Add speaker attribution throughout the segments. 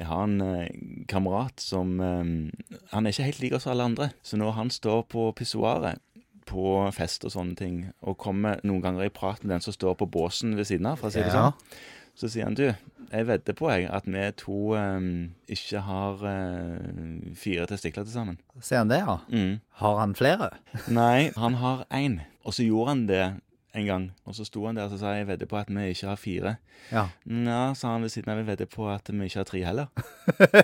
Speaker 1: Jeg har en eh, kamerat som eh, Han er ikke helt lik oss alle andre. Så når han står på pissoaret på fest og sånne ting, og kommer noen ganger i prat med den som står på båsen ved siden av, for å si det
Speaker 2: Ja.
Speaker 1: sånn, så sier han du, jeg vedder på jeg at vi to eh, ikke har eh, fire testikler til sammen.
Speaker 2: Ser han det, ja?
Speaker 1: Mm.
Speaker 2: Har han flere?
Speaker 1: Nei, han har én. Og så gjorde han det en gang. Og så sto han der og så sa jeg vedder på at vi ikke har fire.
Speaker 2: Ja.
Speaker 1: Nja, sa han ved siden av, jeg vedder på at vi ikke har tre heller.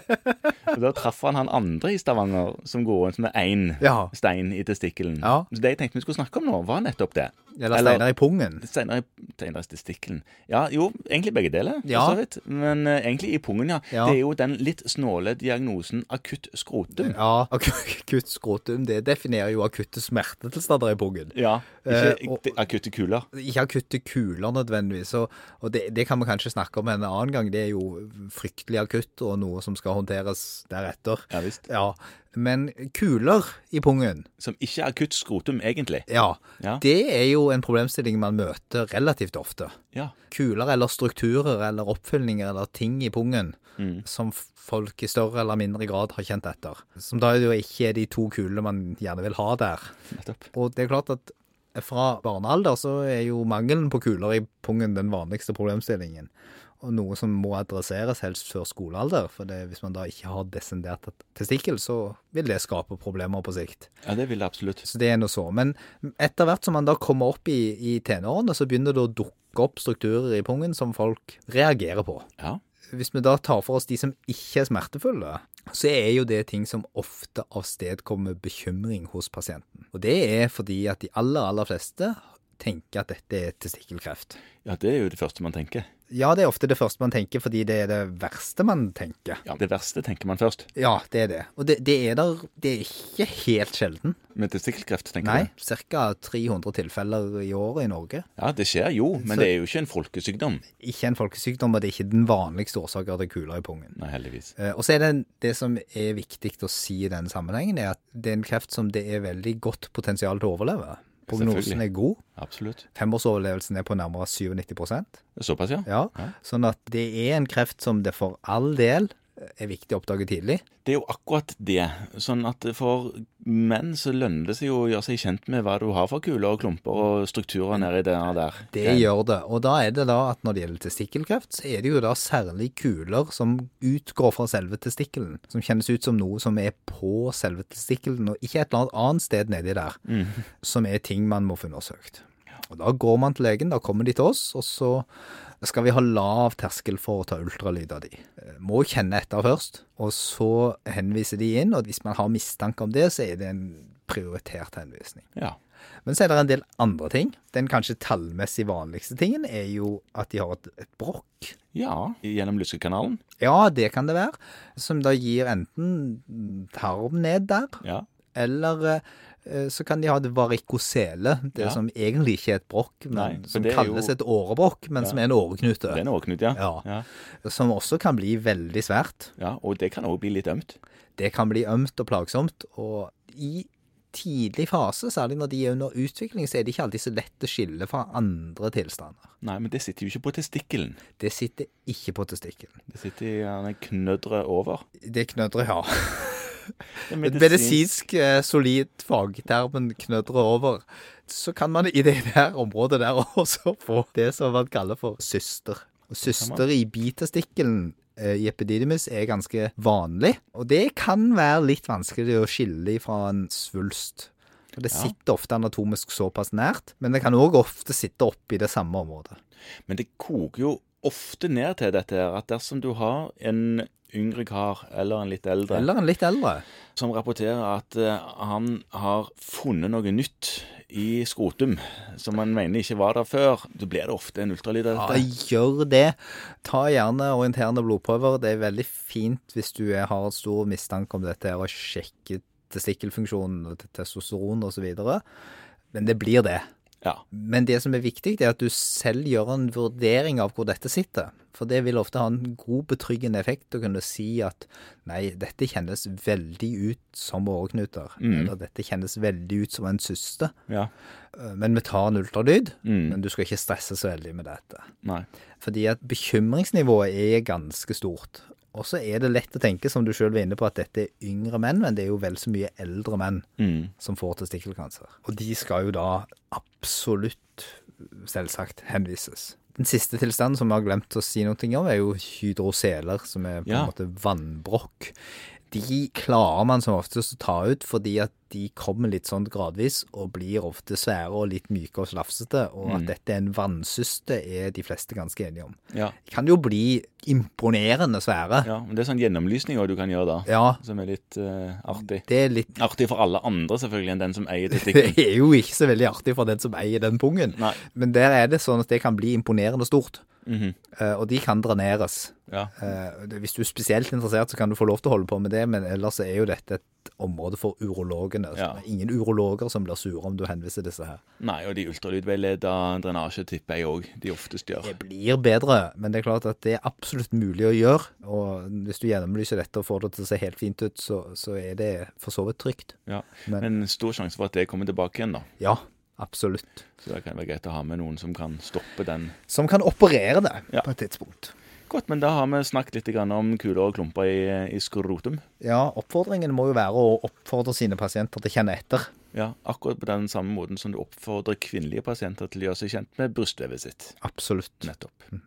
Speaker 1: og da traff han han andre i Stavanger som går rundt med én
Speaker 2: Ja.
Speaker 1: stein i testikkelen.
Speaker 2: Ja.
Speaker 1: Så det jeg tenkte vi skulle snakke om nå, var nettopp det.
Speaker 2: Eller steiner i pungen?
Speaker 1: Senere, senere i testikkelen. Ja, jo, egentlig begge deler,
Speaker 2: Ja.
Speaker 1: for så vidt. Men eh, egentlig i pungen, ja.
Speaker 2: Ja.
Speaker 1: Det er jo den litt snåle diagnosen akutt skrotum.
Speaker 2: Ja, akutt skrotum um, det definerer jo akutte smertetilstander i pungen.
Speaker 1: Ja,
Speaker 2: Eh,
Speaker 1: ikke
Speaker 2: og-
Speaker 1: de- akutte kuler.
Speaker 2: Ikke akutte kuler nødvendigvis, og, og det, det kan vi kanskje snakke om en annen gang. Det er jo fryktelig akutt og noe som skal håndteres deretter.
Speaker 1: Ja visst.
Speaker 2: Ja, Men kuler i pungen,
Speaker 1: Som ikke er akutt skrotum, egentlig.
Speaker 2: ja,
Speaker 1: Ja.
Speaker 2: det er jo en problemstilling man møter relativt ofte.
Speaker 1: Ja.
Speaker 2: Kuler eller strukturer eller oppfyllninger eller ting i pungen som f- folk i større eller mindre grad har kjent etter. Som da jo ikke er de to kulene man gjerne vil ha der.
Speaker 1: Nettopp.
Speaker 2: Og det er klart at fra barnealder så er jo mangelen på kuler i pungen den vanligste problemstillingen. Og noe som må adresseres helst før skolealder. For det, hvis man da ikke har descendert testikkel, så vil det skape problemer på sikt.
Speaker 1: Ja, det vil det absolutt.
Speaker 2: Så det er noe så. Men etter hvert som man da kommer opp i, i tenårene, så begynner det å dukke opp strukturer i pungen som folk reagerer på.
Speaker 1: Ja.
Speaker 2: Hvis vi da tar for oss de som ikke er smertefulle, så er jo det ting som ofte avstedkommer bekymring hos pasienten. Og det er fordi at de aller, aller fleste tenker at dette er testikkelkreft.
Speaker 1: ja, det er jo det første man tenker.
Speaker 2: Ja, det er ofte det første man tenker, fordi det er det verste man tenker.
Speaker 1: Ja, Det verste tenker man først.
Speaker 2: Ja, det er det. Og det, det er der Det er ikke helt sjelden.
Speaker 1: Med testikkelkreft, tenker
Speaker 2: Nei,
Speaker 1: du?
Speaker 2: ca. 300 tilfeller i året i Norge.
Speaker 1: Ja, det skjer jo, men
Speaker 2: Så-
Speaker 1: det er jo ikke en folkesykdom.
Speaker 2: Ikke en folkesykdom, og det er ikke den vanligste årsaken til kuler i pungen.
Speaker 1: Nei, heldigvis.
Speaker 2: Eh, Og så er det, det som er viktig å si i den sammenhengen, er at det er en kreft som det er veldig godt potensial til å overleve. Prognosen
Speaker 1: Selvfølgelig.
Speaker 2: er god.
Speaker 1: Absolutt.
Speaker 2: Femårsoverlevelsen er på nærmere 97
Speaker 1: Såpass, ja.
Speaker 2: ja. Sånn at det er en kreft som det for all del er viktig å oppdage tidlig.
Speaker 1: Det er jo akkurat det. Sånn at for menn så lønner det seg jo å gjøre seg kjent med hva du har for kuler og klumper og strukturer nedi der og der.
Speaker 2: Det gjør det. Og da er det da at når det gjelder testikkelkreft, så er det jo da særlig kuler som utgår fra selve testikkelen. Som kjennes ut som noe som er på selve testikkelen, og ikke et eller annet annet sted nedi der. Som er ting man må få undersøkt. Og da går man til legen, da kommer de til oss, og så skal vi ha lav terskel for å ta ultralyd av de. Eh, Må kjenne etter først, og så henviser de inn, og hvis man har mistanke om det, så er det en prioritert henvisning.
Speaker 1: Ja.
Speaker 2: Men så er det en del andre ting. Den kanskje tallmessig vanligste tingen er jo at de har et, et brokk.
Speaker 1: ja. Gjennom lyskekanalen.
Speaker 2: Ja, det kan det være. Som da gir enten tarm ned der,
Speaker 1: Ja.
Speaker 2: eller eh, så kan de ha et varikosele. Det
Speaker 1: Ja,
Speaker 2: som egentlig ikke er et brokk, men
Speaker 1: Nei, for
Speaker 2: som
Speaker 1: det er
Speaker 2: kalles
Speaker 1: jo-
Speaker 2: et årebrokk, men
Speaker 1: Ja.
Speaker 2: som er en åreknute.
Speaker 1: Det er en åreknut, ja.
Speaker 2: Ja.
Speaker 1: ja.
Speaker 2: Som også kan bli veldig svært.
Speaker 1: Ja, Og det kan òg bli litt ømt.
Speaker 2: Det kan bli ømt og plagsomt. Og i tidlig fase, særlig når de er under utvikling, så er det ikke alltid så lett å skille fra andre tilstander.
Speaker 1: Nei, men det sitter jo ikke på testikkelen.
Speaker 2: Det sitter ikke på testikkelen.
Speaker 1: Det sitter gjerne knødret over.
Speaker 2: Det knødrer, ja.
Speaker 1: Det er
Speaker 2: Et medisinsk eh, solid fagtermen knødrer over. Så kan man i det der området der også få det som man kaller for syster. Og Syster i bitestikkelen eh, i epididymis er ganske vanlig, og det kan være litt vanskelig å skille fra en svulst. Og Det
Speaker 1: Ja.
Speaker 2: sitter ofte anatomisk såpass nært, men det kan òg ofte sitte oppi det samme området.
Speaker 1: Men det koker jo ofte ned til dette her, at dersom du har en yngre kar eller en litt eldre
Speaker 2: Eller en litt eldre.
Speaker 1: som rapporterer at eh, han har funnet noe nytt i skrotum som han mener ikke var der før, så blir det ofte en ultralyd av
Speaker 2: Ja,
Speaker 1: dette.
Speaker 2: gjør det. Ta gjerne orienterende blodprøver. Det er veldig fint hvis du er- har stor mistanke om dette her, og sjekke testikkelfunksjonen og testosteron osv. Men det blir det.
Speaker 1: Ja.
Speaker 2: Men det som er viktig, det er at du selv gjør en vurdering av hvor dette sitter. For det vil ofte ha en god, betryggende effekt å kunne si at nei, dette kjennes veldig ut som åreknuter. Eller dette kjennes veldig ut som en syste.
Speaker 1: ja.
Speaker 2: Eh, Men vi tar en ultralyd.
Speaker 1: Mm.
Speaker 2: Men du skal ikke stresse så veldig med dette.
Speaker 1: Nei.
Speaker 2: Fordi at bekymringsnivået er ganske stort. Og så er det lett å tenke, som du sjøl var inne på, at dette er yngre menn, men det er jo vel så mye eldre menn
Speaker 1: Mm.
Speaker 2: som får testikkelkrefter. Og de skal jo da absolutt, selvsagt, henvises. Den siste tilstanden som vi har glemt å si noe om, er jo hydroceler, som er på
Speaker 1: Ja.
Speaker 2: en måte vannbrokk. De klarer man som oftest å ta ut fordi at de kommer litt sånn gradvis og blir ofte svære og litt myke og slafsete, og at dette er en vannsyste er de fleste ganske enige om.
Speaker 1: Ja.
Speaker 2: De kan jo bli imponerende svære.
Speaker 1: ja. Men det er sånn gjennomlysning også du kan gjøre da,
Speaker 2: Ja,
Speaker 1: som er litt eh, artig.
Speaker 2: det er litt
Speaker 1: Artig for alle andre, selvfølgelig, enn den som eier
Speaker 2: Det
Speaker 1: testikkelen.
Speaker 2: er jo ikke så veldig artig for den som eier den pungen.
Speaker 1: Nei.
Speaker 2: Men der er det sånn at det kan bli imponerende stort.
Speaker 1: Mhm.
Speaker 2: Eh, Og de kan dreneres.
Speaker 1: Ja.
Speaker 2: Eh, det- Hvis du er spesielt interessert, så kan du få lov til å holde på med det, men ellers er jo dette et område for urologene.
Speaker 1: Ja.
Speaker 2: Det er Ingen urologer som blir sure om du henviser disse her.
Speaker 1: Nei, og de ultralydveileda drenasje tipper jeg òg de oftest gjør.
Speaker 2: Det blir bedre, men det er klart at det er absolutt mulig å gjøre. Og hvis du gjennomlyser dette og får det til å se helt fint ut, så, så er det for så vidt trygt.
Speaker 1: Ja.
Speaker 2: Men-
Speaker 1: Men stor sjanse for at det kommer tilbake igjen, da.
Speaker 2: Ja, absolutt.
Speaker 1: Så det kan være greit å ha med noen som kan stoppe den.
Speaker 2: Som kan operere det
Speaker 1: Ja.
Speaker 2: på et tidspunkt.
Speaker 1: Godt, men da har vi snakket litt grann om kuler og klumper i, i skrotum.
Speaker 2: Ja, oppfordringen må jo være å oppfordre sine pasienter til å kjenne etter.
Speaker 1: Ja, akkurat på den samme måten som du oppfordrer kvinnelige pasienter til å gjøre seg kjent med brystvevet sitt.
Speaker 2: Absolutt.
Speaker 1: Nettopp.